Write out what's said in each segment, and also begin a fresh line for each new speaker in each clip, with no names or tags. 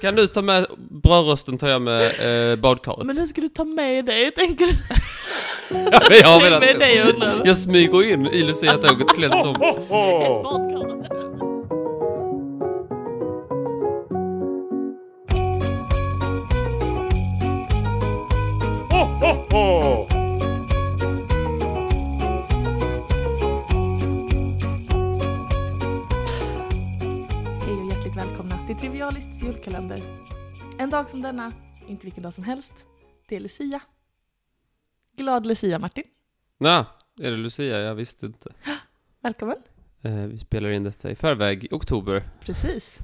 Kan du ta med brödrosten tar jag med eh, badkaret.
Men hur ska du ta med dig? Tänker du?
Ja, men jag, har
Tänk
velat-
med dig, jag undrar.
jag smyger in i Lucia-tåget klädd som...
Ett badkar? Hej och hjärtligt välkomna till Trivialists julkalender. En dag som denna, inte vilken dag som helst, det är Lucia. Glad Lucia Martin,
Nja, är det Lucia? Jag visste inte.
välkommen.
Eh, vi spelar in detta i förväg, i oktober.
Precis.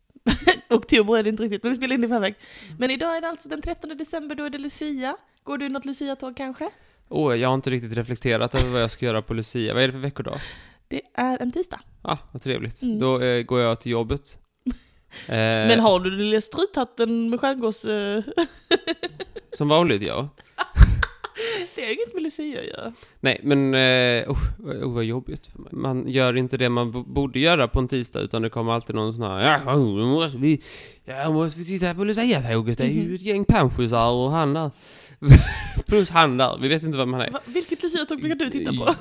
Oktober är det inte riktigt, men vi spelar in det i förväg.
Mm.
Men idag är det alltså den 13 december, då är det Lucia. Går du något Lucia-tåg kanske?
Åh, jag har inte riktigt reflekterat över vad jag ska göra på Lucia. Vad är det för veckodag?
Det är en tisdag.
Ah, vad trevligt.
Mm.
Då eh, går jag till jobbet. Eh,
Men har du den lilla struthatten med stjärngås? eh,
Som vanligt, ja.
det är inget med Lucia att göra.
Nej, men... Eh, oh, vad- oh, vad jobbigt för mig. Man gör inte det man b- borde göra på en tisdag, utan det kommer alltid någon sån här... Ja, oh, nu måste vi... Ja, måste vi titta på Lucia-tåget. Det är
Mhm.
ju ett gäng panschisar och han där. Plus han där. Vi vet inte vad man är.
Va, vilket Lucia-tåg brukar du titta på?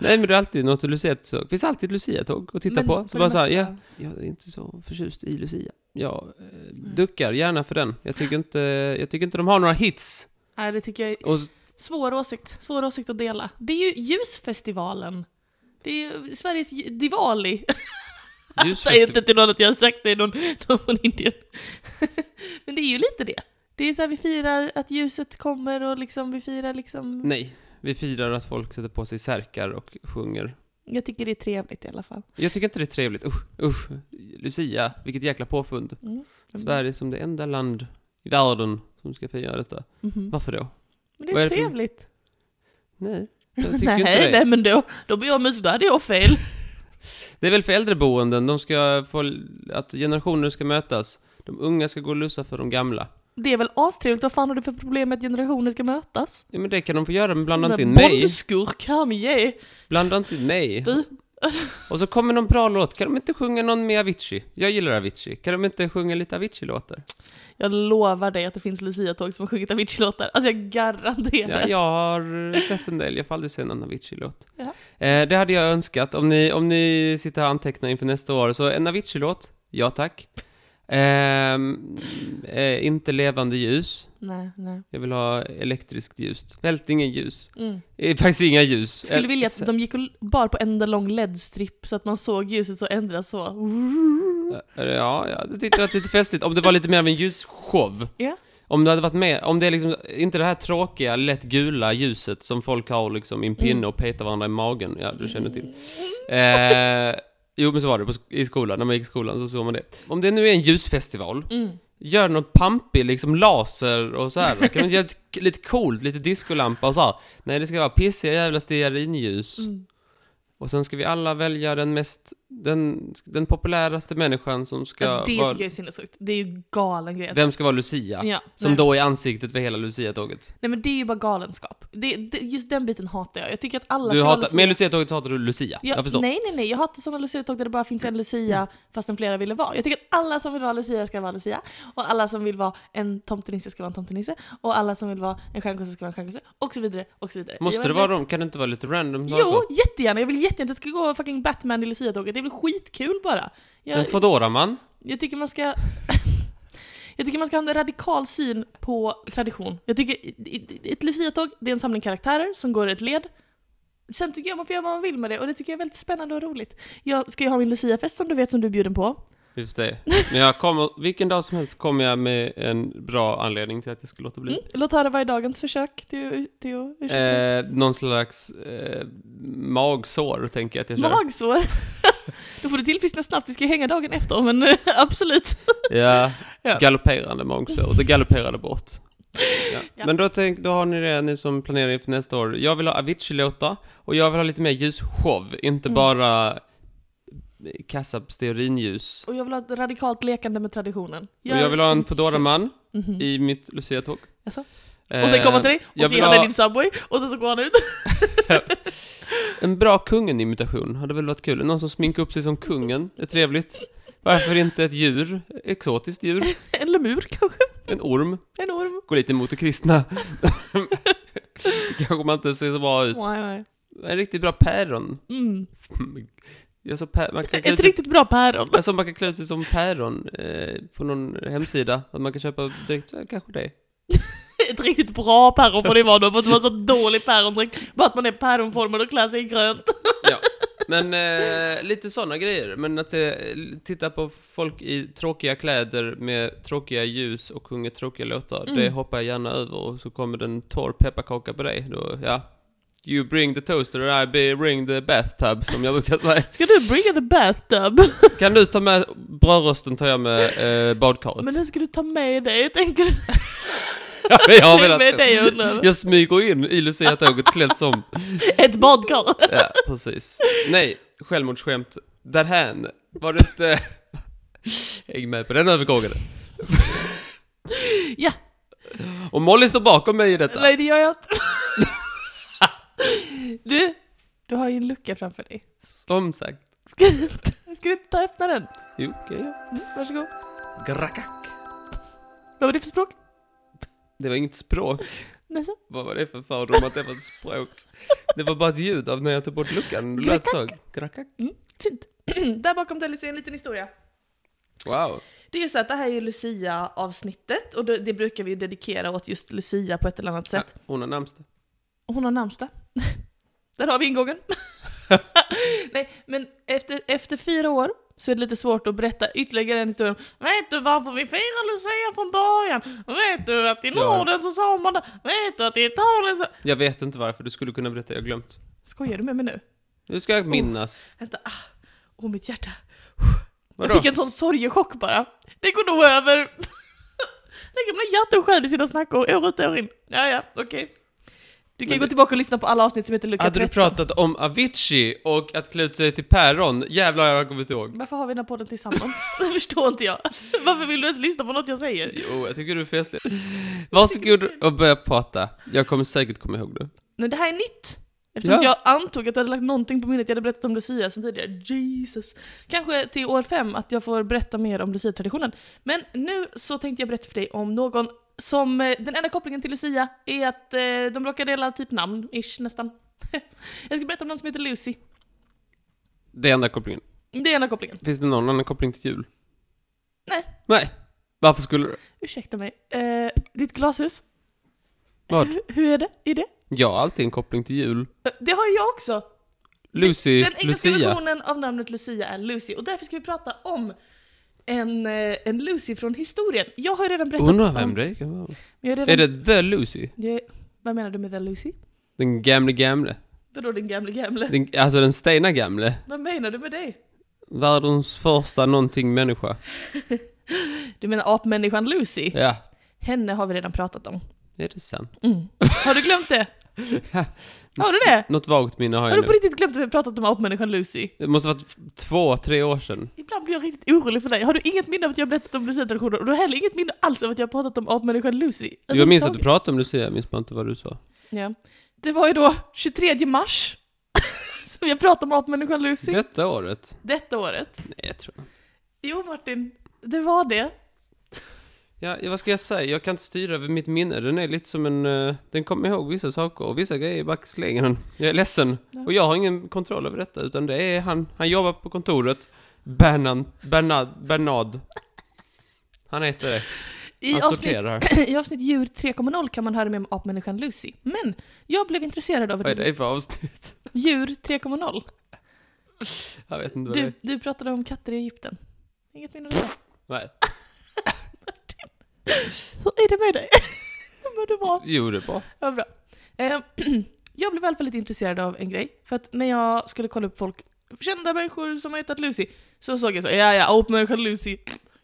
Nej, men det är alltid något Lucia-tåg. Det finns alltid Lucia-tåg att titta
Men
på. Så
det
bara så här,
mesta-
ja, jag är inte så förtjust i Lucia. Jag eh, duckar gärna för den. Jag tycker, inte, jag tycker inte de har några hits.
Nej, det tycker jag är
Och s-
svår åsikt, svår åsikt att dela. Det är ju ljusfestivalen. Det är ju Sveriges ju- Diwali. Säg
ljusfestival-
inte till någon att jag har sagt det, någon, någon från Indien. Men det är ju lite det. Det är så här, vi firar att ljuset kommer och liksom, vi firar liksom...
Nej, vi firar att folk sätter på sig särkar och sjunger.
Jag tycker det är trevligt i alla fall.
Jag tycker inte det är trevligt. Usch, usch. Lucia, vilket jäkla påfund.
Mm.
Sverige som det enda land i världen som ska fira detta.
Mhm.
Varför då?
Men
vad är
det är
det för-
trevligt.
Nej, jag tycker
nej,
inte det.
nej, men då, då ber jag om ursäkt, då hade jag fel.
Det är väl för äldreboenden, de ska få, att generationer ska mötas. De unga ska gå och lussa för de gamla.
Det är väl astrevligt, vad fan har du för problem med att generationer ska mötas?
Ja men det kan de få göra, men blanda inte in
Men
mig.
Bondskurk, här ge.
Blanda inte in mig.
Du.
Och så kommer någon bra låt, kan de inte sjunga någon med Avicii? Jag gillar Avicii, kan de inte sjunga lite Avicii-låtar?
Jag lovar dig att det finns Lucia-tåg som har sjungit Avicii-låtar. Alltså jag garanterar.
Ja, jag har sett en del, jag får aldrig se en Avicii-låt.
Ja.
Eh, det hade jag önskat, om ni, om ni sitter här och antecknar inför nästa år, så en Avicii-låt, ja tack. Ehm, eh, inte levande ljus,
Nej, nej.
jag vill ha elektriskt ljus. Väldigt inget ljus.
Mm.
Det är faktiskt inga ljus.
Skulle
Eh,
vilja
s-
att de gick och l- bar på enda lång LED-stripp så att man såg ljuset så ändras så.
Mm. eh, Ja, ja, det tyckte jag var lite festligt. Om det var lite mer av en ljusshow.
Ja.
Om det hade varit mer, om det är liksom, inte det här tråkiga, lätt gula ljuset som folk har liksom i en pinne
Mm.
och petar varandra i magen. Ja, du känner till. Eh, jo, men så var det på, sk- i skolan, när man gick i skolan så såg man det. Om det nu är en ljusfestival,
Mm.
gör något pampig, liksom laser och så här. Kan man göra ett- lite coolt, lite discolampa och så här. Nej, det ska vara pissiga jävla stearinljus.
Mm.
Och sen ska vi alla välja den mest, den, den populäraste människan som ska
Ja, det tycker
vara,
jag är sinnessjukt. Det är ju galen grej. att-
vem ska vara Lucia?
Ja,
Som
nej.
då är ansiktet för hela Lucia-tåget.
nej men det är ju bara galenskap. Det, det, just den biten hatar jag. Jag tycker att alla
Du
ska
hatar,
vara
med Lucia-tåget så hatar du Lucia,
Ja,
jag förstår.
Nej, nej, nej. Jag hatar sådana Lucia-tåg där det bara finns en Lucia fastän flera ville vara. Jag tycker att alla som vill vara Lucia ska vara Lucia. Och alla som vill vara en tomtenisse ska vara en tomtenisse. Och alla som vill vara en stjärngosse ska vara en stjärngosse. Och så vidare, och så vidare.
Måste
Jag
det
vet
vara
inte.
dem? Kan det inte vara lite random?
Jo, jättegärna. Jag vill jättegärna att det ska gå fucking Batman i Lucia-tåget. Det blir skitkul bara. Jag,
En Foodora-man?
jag tycker man ska... Jag tycker man ska ha en radikal syn på tradition. Jag tycker i- i- ett luciatåg, det är en samling karaktärer som går i ett led. Sen tycker jag man får göra vad man vill med det och det tycker jag är väldigt spännande och roligt. Jag ska ju ha min luciafest som du vet som du är bjuden på.
Just det. Men jag kommer, vilken dag som helst kommer jag med en bra anledning till att jag ska låta bli.
Mm. Låt höra vad är dagens försök till, till att ursäkta mig.
Eh, någon slags eh, magsår tänker jag att jag kör.
Magsår. Då får du tillfriskna snabbt, vi ska ju hänga dagen efter men absolut.
Ja,
Ja.
galopperande magsår. Det galopperade bort. Ja.
Ja.
Men då, tänk, då har ni det, ni som planerar inför nästa år. Jag vill ha Avicii-låtar och jag vill ha lite mer ljusshow, inte
Mm.
bara kassapsteorinljus.
Och jag vill ha ett radikalt lekande med traditionen.
Och jag vill ha en
fedora
Foodora-man
Mhm.
i mitt Eh, Lucia-tåg.
mm, Jaså? Och sen kommer han till dig,
jag
och så
vill
ger han
ha-
dig din Subway, och sen så går han ut.
En bra kungen-imitation hade väl varit kul? Någon som sminkar upp sig som kungen, det är trevligt. Varför inte ett djur? Exotiskt djur?
En lemur kanske?
En orm?
En orm?
Gå lite emot det kristna. Kanske man inte ser så bra ut.
Nej, nej.
En riktigt bra päron.
Mm.
Jag typ- sa pär, man kan klä ut
Ett
sig,
riktigt bra päron.
alltså man kan klä ut sig som päron eh, på någon hemsida. Att man kan köpa direkt, eh, kanske det.
Ett riktigt bra päron får det vara då, för det var så dålig pärondräkt. Bara att man är päronformad och klär sig i grönt.
Men eh, lite sådana grejer. Men att se, titta på folk i tråkiga kläder med tråkiga ljus och sjunger tråkiga låtar,
Mm.
det hoppar jag gärna över och så kommer den torr pepparkaka på dig. Då, ja. You bring the toaster and I be- bring the bathtub, som jag brukar säga.
Ska du bringa the bathtub?
Kan du ta med brödrosten tar jag med eh, badkaret.
Men hur ska du ta med dig? Tänker du?
jag har
Det är
velat
med
se.
dig jag undrar över.
Jag smyger in i Lucia-tåget klädd som...
Ett badkar?
Ja, precis. Nej, självmordsskämt. Därhän. Var det inte... Häng med på den övergången.
Ja.
Och Molly står bakom mig i detta.
Nej, det gör jag inte. Du, du har ju en lucka framför dig.
Som sagt.
Ska du inte, ska du inte ta och öppna den?
Jo, okej ja.
Mm, Varsågod.
Grakack.
Vad var det för språk?
Det var inget språk.
Nästa.
Vad var det för fördom att det var ett språk? Det var bara ett ljud av när jag tog bort luckan. Det lät så. Grakack.
Fint. Där bakom dig ser jag en liten historia.
Wow.
Det är ju så att det här är ju Lucia-avsnittet och det, det brukar vi ju dedikera åt just Lucia på ett eller annat sätt.
Ja, hon har namnsdag.
Och hon har namnsdag. Där har vi ingången. Nej, men efter, efter fyra år så är det lite svårt att berätta ytterligare en historia om Vet du varför vi firar Lucia från början? Vet du att i
Ja.
Norden så sa man det? Vet du att i Italien så...
Jag vet inte varför. Du skulle kunna berätta. Jag har glömt.
Skojar du med mig nu?
Nu ska jag
Oh.
minnas.
Vänta, ah, åh mitt hjärta. Jag
Vadå?
fick en sån sorgechock bara. Det går nog över. Lägger man hjärta och själ i sina snackor år ut och år in. Ja, ja, okej. Du kan
Men
gå
det-
tillbaka och lyssna på alla avsnitt som heter Lucka
Hade du
13.
pratat om Avicii och att klä ut sig till päron, jävlar jag har kommit ihåg.
Varför har vi den här podden tillsammans? det förstår inte jag. Varför vill du ens lyssna på något jag säger?
Jo, jag tycker du är festlig. Varsågod och börja prata. Jag kommer säkert komma ihåg det.
Men det här är nytt. Eftersom
Ja.
jag antog att du hade lagt någonting på minnet jag hade berättat om Lucia sen tidigare. Jesus. Kanske till år fem att jag får berätta mer om Lucia-traditionen. Men nu så tänkte jag berätta för dig om någon som, eh, den enda kopplingen till Lucia är att eh, de råkar dela typ namn, ish nästan. jag ska berätta om någon som heter Lucy.
Det är enda kopplingen.
Det är enda kopplingen.
Finns det någon annan koppling till jul?
Nej.
Nej. Varför skulle du?
Ursäkta mig. Eh, ditt glashus,
Vad?
hur, hur är det i det?
Jag har alltid en koppling till jul.
Eh, Det har ju jag också.
Lucy,
Den engelska
Lucia.
versionen av namnet Lucia är Lucy, och därför ska vi prata om en, eh, en Lucy från historien. Jag har ju redan berättat
Undrar vem
om...
det kan vara.
Jag har redan,
Är det The Lucy?
det- Vad menar du med The Lucy?
Den gamle gamle?
Vadå den gamle gamle?
Den, alltså den stena gamle?
Vad menar du med det?
Världens första någonting människa.
Du menar apmänniskan Lucy?
Ja,
Henne har vi redan pratat om.
är det sant?
Mm. Har du glömt det? Har du det?
Något vagt minne har
Har
jag
du på
nu.
riktigt glömt att vi har pratat om apmänniskan Lucy?
Det måste ha varit f- två, tre år sedan.
Ibland blir jag riktigt orolig för dig. Har du inget minne av att jag har berättat om Lucia-traditioner? Och du har heller inget minne alls av att jag har pratat om apmänniskan Lucy?
Jag minns att du pratade om Lucia, jag minns bara inte vad du sa.
Ja. Det var ju då 23 mars som jag pratade om apmänniskan Lucy
Detta året?
detta året.
Nej, jag tror inte.
Jo Martin, det var det.
Ja, ja, vad ska jag säga? Jag kan inte styra över mitt minne. Den är lite som en... eh, den kommer ihåg vissa saker och vissa grejer bara slänger den. Jag är ledsen.
Ja.
Och jag har ingen kontroll över detta, utan det är han. Han jobbar på kontoret. Bernard... Bernard... Bernard. Han heter det.
I
Han
avsnitt,
sorterar.
I avsnitt djur 3.0 kan man höra mer om apmänniskan Lucy. Men jag blev intresserad av
Vad är
det.
det för avsnitt?
djur 3.0.
Jag vet inte vad det
Du,
är.
du pratade om katter i Egypten. Inget minne av det?
Nej.
Hur är det med dig? Mår du bra?
Jo, det är bra.
Ja, bra. Eh, jag blev i alla fall lite intresserad av en grej. För att när jag skulle kolla upp folk, kända människor som har hetat Lucy, så såg jag så ja ja, apmänniskan Lucy.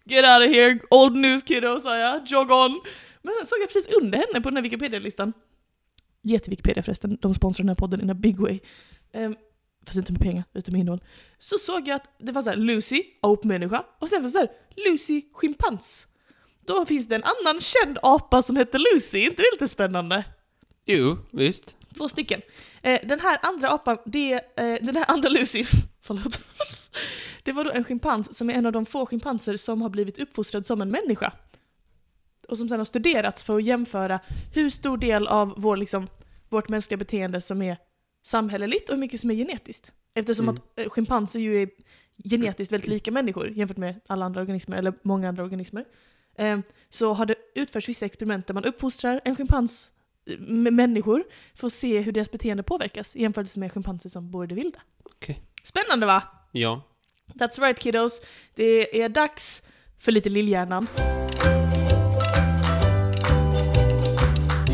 Get out of here, old news kiddo, sa jag. Jog on. Men sen såg jag precis under henne på den här Wikipedia-listan. Jätte-Wikipedia förresten, de sponsrar den här podden in a big way. Um, fast inte med pengar, utan med innehåll. Så såg jag att det var så här Lucy, apmänniska, och sen var det så här Lucy, schimpans. Då finns det en annan känd apa som heter Lucy, inte det lite spännande?
Jo, visst.
Två stycken. Eh, den här andra apan, det, är, eh, den här andra Lucy, förlåt. Det var då en schimpans som är en av de få schimpanser som har blivit uppfostrad som en människa. Och som sedan har studerats för att jämföra hur stor del av vår, liksom, vårt mänskliga beteende som är samhälleligt och hur mycket som är genetiskt. Eftersom
Mm.
att eh, schimpanser ju är genetiskt väldigt lika människor jämfört med alla andra organismer, eller många andra organismer. Eh, så har det utförts vissa experiment där man uppfostrar en schimpans eh, med människor för att se hur deras beteende påverkas i jämförelse med schimpanser som bor i det vilda.
Okej.
Spännande va?
Ja.
That's right kiddos. Det är dags för lite lillhjärnan.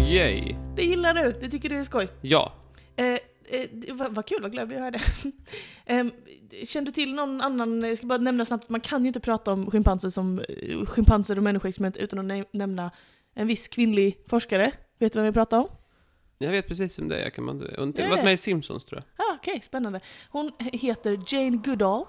Yay.
Det gillar du, det tycker du är skoj.
Ja.
Eh, eh, det- vad, vad kul, vad glad jag blev att höra det. Em, känner du till någon annan, jag ska bara nämna snabbt, man kan ju inte prata om schimpanser som eh, schimpanser och människoexperiment utan att nä- nämna en viss kvinnlig forskare. Vet du vem vi pratar om?
Jag vet precis vem det är, kan man inte... Hon har
Nej.
varit med i Simpsons, tror jag.
Ah, Okej, spännande. Hon heter Jane Goodall.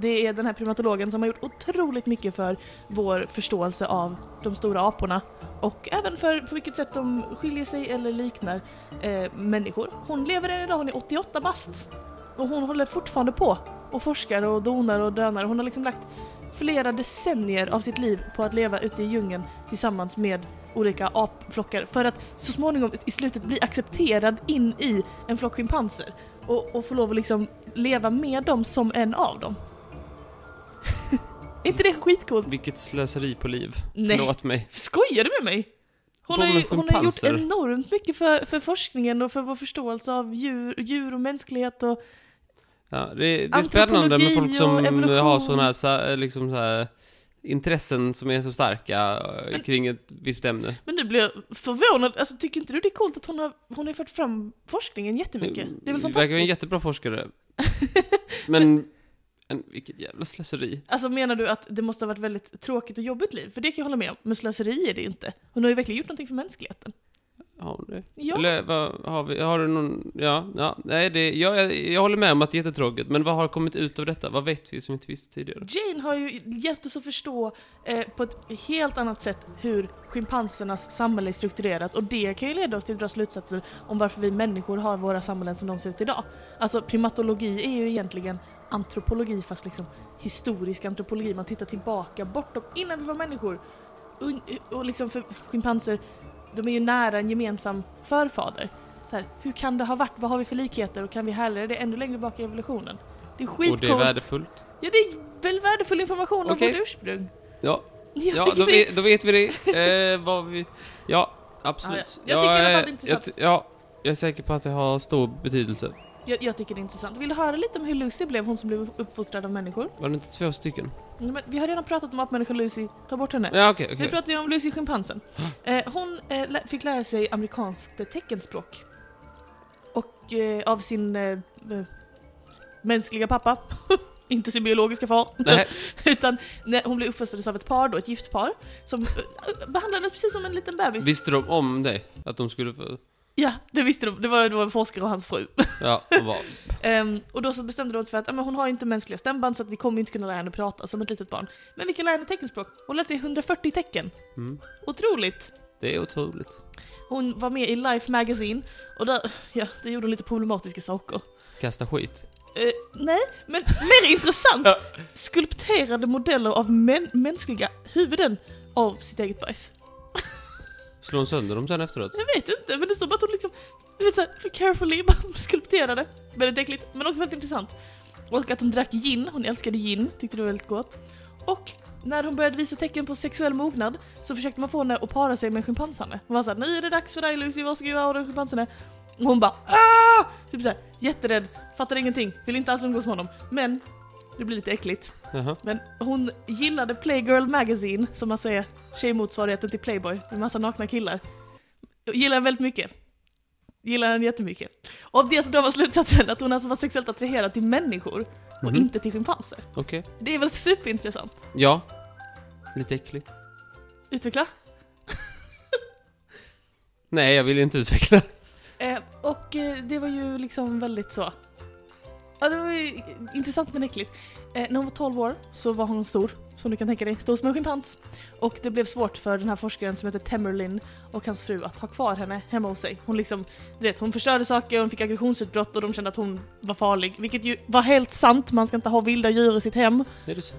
Det är den här primatologen som har gjort otroligt mycket för vår förståelse av de stora aporna och även för på vilket sätt de skiljer sig eller liknar eh, människor. Hon lever än idag, hon är 88 bast och hon håller fortfarande på och forskar och donar och dönar. Hon har liksom lagt flera decennier av sitt liv på att leva ute i djungeln tillsammans med olika apflockar för att så småningom i slutet bli accepterad in i en flock schimpanser och, och få lov att liksom leva med dem som en av dem. är inte det skitcoolt?
Vilket slöseri på liv.
Nej.
Förlåt mig.
Skojar du med mig? Hon
Bor
har, ju,
med
hon har gjort
schimpanser.
enormt mycket för, för forskningen och för vår förståelse av djur, djur och mänsklighet och
Ja, det, det är spännande med folk
Antropologi och
som
evolution.
har sådana här, så här, liksom så här, intressen som är så starka eh,
Men-
kring ett visst ämne.
Men nu blir jag förvånad. Alltså, tycker inte du det är coolt att hon har, hon har fört fram forskningen jättemycket? Det är väl
Mm, verkar vara en
fantastiskt?
jättebra forskare. Men, en, vilket jävla slöseri.
Alltså menar du att det måste ha varit väldigt tråkigt och jobbigt liv? För det kan jag hålla med om. Men slöseri är det ju inte. Hon har ju verkligen gjort någonting för mänskligheten.
Ja, det.
Ja.
Eller vad har vi? Har du någon? Ja, ja nej, det, jag, jag, jag håller med om att det är jättetråkigt. Men vad har kommit ut av detta? Vad vet vi som inte visste tidigare?
Jane har ju hjälpt oss att förstå eh, på ett helt annat sätt hur schimpansernas samhälle är strukturerat och det kan ju leda oss till att dra slutsatser om varför vi människor har våra samhällen som de ser ut idag. Alltså primatologi är ju egentligen antropologi fast liksom historisk antropologi. Man tittar tillbaka bortom, innan vi var människor. Och, och liksom för schimpanser, de är ju nära en gemensam förfader. Så här, hur kan det ha varit? Vad har vi för likheter? Och kan vi härleda det ännu längre bak i evolutionen? Det är skitcoolt.
Och det är värdefullt.
Ja, det är väl värdefull information om
Okej.
vårt ursprung.
Ja,
Jag
ja
tycker
då,
det-
vi, då vet vi det. Eh, vad vi, ja, absolut.
Ja, ja. Jag tycker i alla fall det är
eh,
intressant.
jag ty- ja, jag är säker på att det har stor betydelse.
jag, jag tycker det är intressant. Vill du höra lite om hur Lucy blev, hon som blev uppfostrad av människor?
Var det inte två stycken?
Nej, men vi har redan pratat om apmänniskan Lucy, ta bort henne.
Ja, okej,
Nu
okej.
pratar vi om Lucy schimpansen. Eh, hon eh, lä- fick lära sig amerikanskt teckenspråk. Och eh, av sin eh, eh, mänskliga pappa. Inte sin biologiska far.
Nej,
Utan när hon blev uppfostrad av ett par då, ett gift par. Som eh, behandlade henne precis som en liten bebis.
Visste de om det? Att de skulle få...
Ja, det visste de. Det var, det var en forskare och hans fru.
Ja, och vad-
Ehm, och då så bestämde de sig för att ja, men hon har ju inte mänskliga stämband så att vi kommer ju inte kunna lära henne prata som ett litet barn. Men vi kan lära henne teckenspråk. Hon lärde sig 140 tecken.
mm.
Otroligt!
Det är otroligt.
Hon var med i Life Magazine och där, ja, det gjorde hon lite problematiska saker.
Kasta skit.
Eh, nej, men mer intressant! Skulpterade modeller av män- mänskliga huvuden av sitt eget bajs.
Slå hon sönder dem sen efteråt?
Jag vet inte, men det står bara att hon liksom, du vet såhär, carefully bara skulpterade. Väldigt äckligt, men också väldigt intressant. Och att hon drack gin, hon älskade gin, tyckte det var väldigt gott. Och när hon började visa tecken på sexuell mognad så försökte man få henne att para sig med en schimpanshanne. Hon var såhär, nu är det dags för dig Lucy, varsågod jag har en schimpanshanne. Och hon bara Aah! Typ såhär, jätterädd, fattar ingenting, vill inte alls umgås med honom. Men, det blir lite äckligt.
Jaha.
Men hon gillade Playgirl Magazine, som man säger, tjejmotsvarigheten till Playboy, med massa nakna killar. Gillar den väldigt mycket. Gillar den jättemycket. Och av det så drar man slutsatsen att hon alltså var sexuellt attraherad till människor och
Mhm.
inte till schimpanser.
Okej.
Det är väl superintressant?
Ja. Lite äckligt.
Utveckla.
Nej, jag vill inte utveckla.
Eh, och eh, det var ju liksom väldigt så... Ja, det var ju intressant men äckligt. Eh, när hon var 12 år så var hon stor som du kan tänka dig, stor som en schimpans. Och det blev svårt för den här forskaren som heter Temerlin och hans fru att ha kvar henne hemma hos sig. Hon liksom, du vet, hon förstörde saker, hon fick aggressionsutbrott och de kände att hon var farlig. Vilket ju var helt sant, man ska inte ha vilda djur i sitt hem.
Är det så?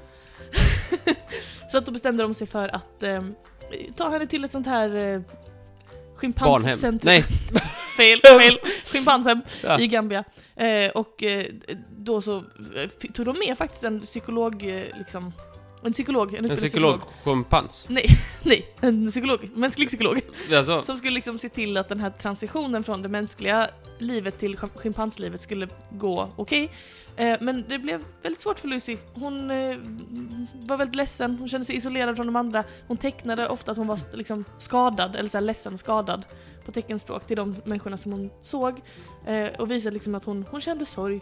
Så att då bestämde de sig för att eh, ta henne till ett sånt här eh,
Barnhem?
schimpanscentrum.
Nej!
Fel, fel. Schimpanshem
Ja.
i Gambia. Eh, och eh, då så eh, fick- tog de med faktiskt en psykolog, eh, liksom, en psykolog, en
En
utbildad
psykolog. Schimpans.
Nej, en psykolog, mänsklig psykolog.
Alltså,
Som skulle liksom se till att den här transitionen från det mänskliga livet till schim- schimpanslivet skulle gå okej. Eh, Men det blev väldigt svårt för Lucy. Hon eh, var väldigt ledsen, hon kände sig isolerad från de andra. Hon tecknade ofta att hon var liksom skadad, eller så här ledsen skadad, på teckenspråk till de människorna som hon såg. Eh, Och visade liksom att hon, hon kände sorg.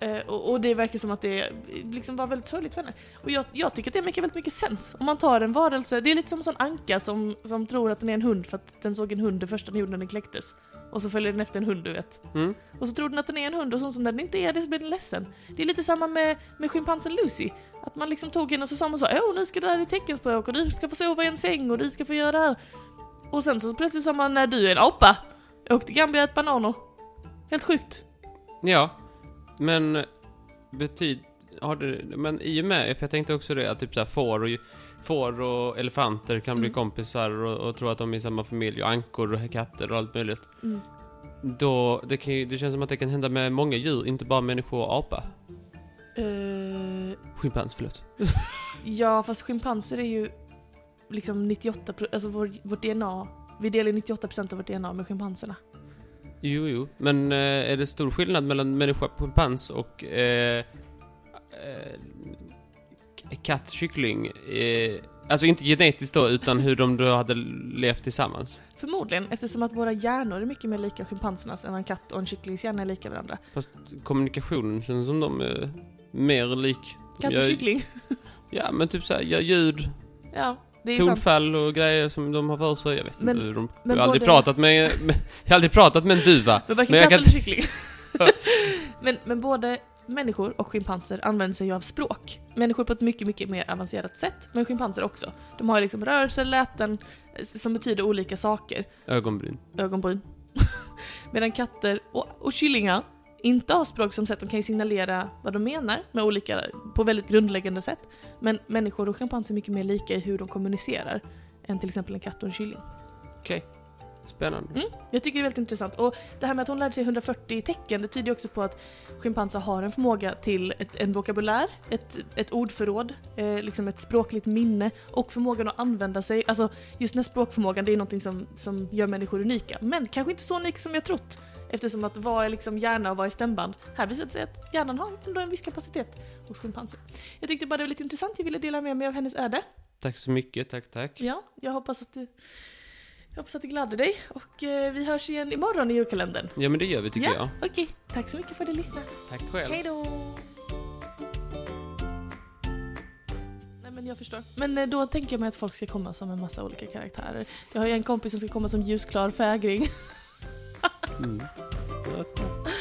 Eh, Och, och det verkar som att det eh, liksom var väldigt sorgligt för henne. Och jag, jag tycker att det är mycket, väldigt mycket sens. Om man tar en varelse, det är lite som en sån anka som, som tror att den är en hund för att den såg en hund det första den gjorde när den kläcktes. Och så följer den efter en hund, du vet.
mm.
Och så tror den att den är en hund och sånt som när den inte är det så blir den ledsen. Det är lite samma med, med schimpansen Lucy. Att man liksom tog henne och så sa man så åh nu ska du här i teckenspråk och du ska få sova i en säng och du ska få göra det här. Och sen så plötsligt sa man, när du är en apa! Jag åkte till Gambia och åt bananer. Helt sjukt.
Ja, men betyd... Har det, men i och med, för jag tänkte också det, att typ så här får och, får och elefanter kan bli
Mm.
kompisar och, och tro att de är i samma familj och ankor och katter och allt möjligt.
Mm.
Då, det, kan ju, det känns som att det kan hända med många djur, inte bara människor och apa.
Eh,
Schimpans, förlåt.
Ja, fast schimpanser är ju liksom 98 alltså vår, vårt DNA. Vi delar 98% av vårt DNA med schimpanserna.
Jo, jo. Men eh, är det stor skillnad mellan människa, schimpans och eh, eh, k- katt, kyckling? Eh, alltså inte genetiskt då, utan hur de då hade levt tillsammans.
Förmodligen, eftersom att våra hjärnor är mycket mer lika schimpansernas än en katt och en kycklings hjärna är lika varandra.
kommunikationen känns som de är mer lik.
Katt och
Jag-
kyckling.
Ja, men typ såhär, gör ljud,
Ja, det är ju sant.
tonfall och grejer som de har för sig. Jag vet
Men-
inte hur de...
men
jag har aldrig
både-
pratat med, med... Jag har aldrig pratat med en duva.
Men varken
Men jag
katt
kan
eller kyckling. men, men både människor och schimpanser använder sig ju av språk. Människor på ett mycket, mycket mer avancerat sätt, men schimpanser också. De har ju liksom rörelser, läten, eh, som betyder olika saker.
Ögonbryn.
ögonbryn. Medan katter och, och kyllingar inte har språk som sätt, de kan ju signalera vad de menar med olika, på väldigt grundläggande sätt. Men människor och schimpanser är mycket mer lika i hur de kommunicerar än till exempel en katt och en kylling.
Okej. Spännande.
Mm, jag tycker det är väldigt intressant. Och det här med att hon lärde sig 140 tecken, det tyder ju också på att schimpanser har en förmåga till ett, en vokabulär, ett, ett ordförråd, eh, liksom ett språkligt minne och förmågan att använda sig. Alltså just den här språkförmågan, det är någonting som, som gör människor unika. Men kanske inte så unika som jag trott. Eftersom att vad är liksom hjärna och vad är stämband? Här visar det sig att hjärnan har ändå en viss kapacitet hos schimpanser. Jag tyckte bara det var lite intressant, jag ville dela med mig av hennes öde.
Tack så mycket, tack, tack.
Ja, jag hoppas att du jag hoppas att det gladde dig och eh, vi hörs igen imorgon i julkalendern.
Ja, men det gör vi tycker
ja,
jag.
okej. Tack så mycket för att du lyssnade.
Tack själv.
Hej då! Nej men jag förstår. Men eh, då tänker jag mig att folk ska komma som en massa olika karaktärer. Jag har ju en kompis som ska komma som ljusklar fägring.
Mm. Ja, tack.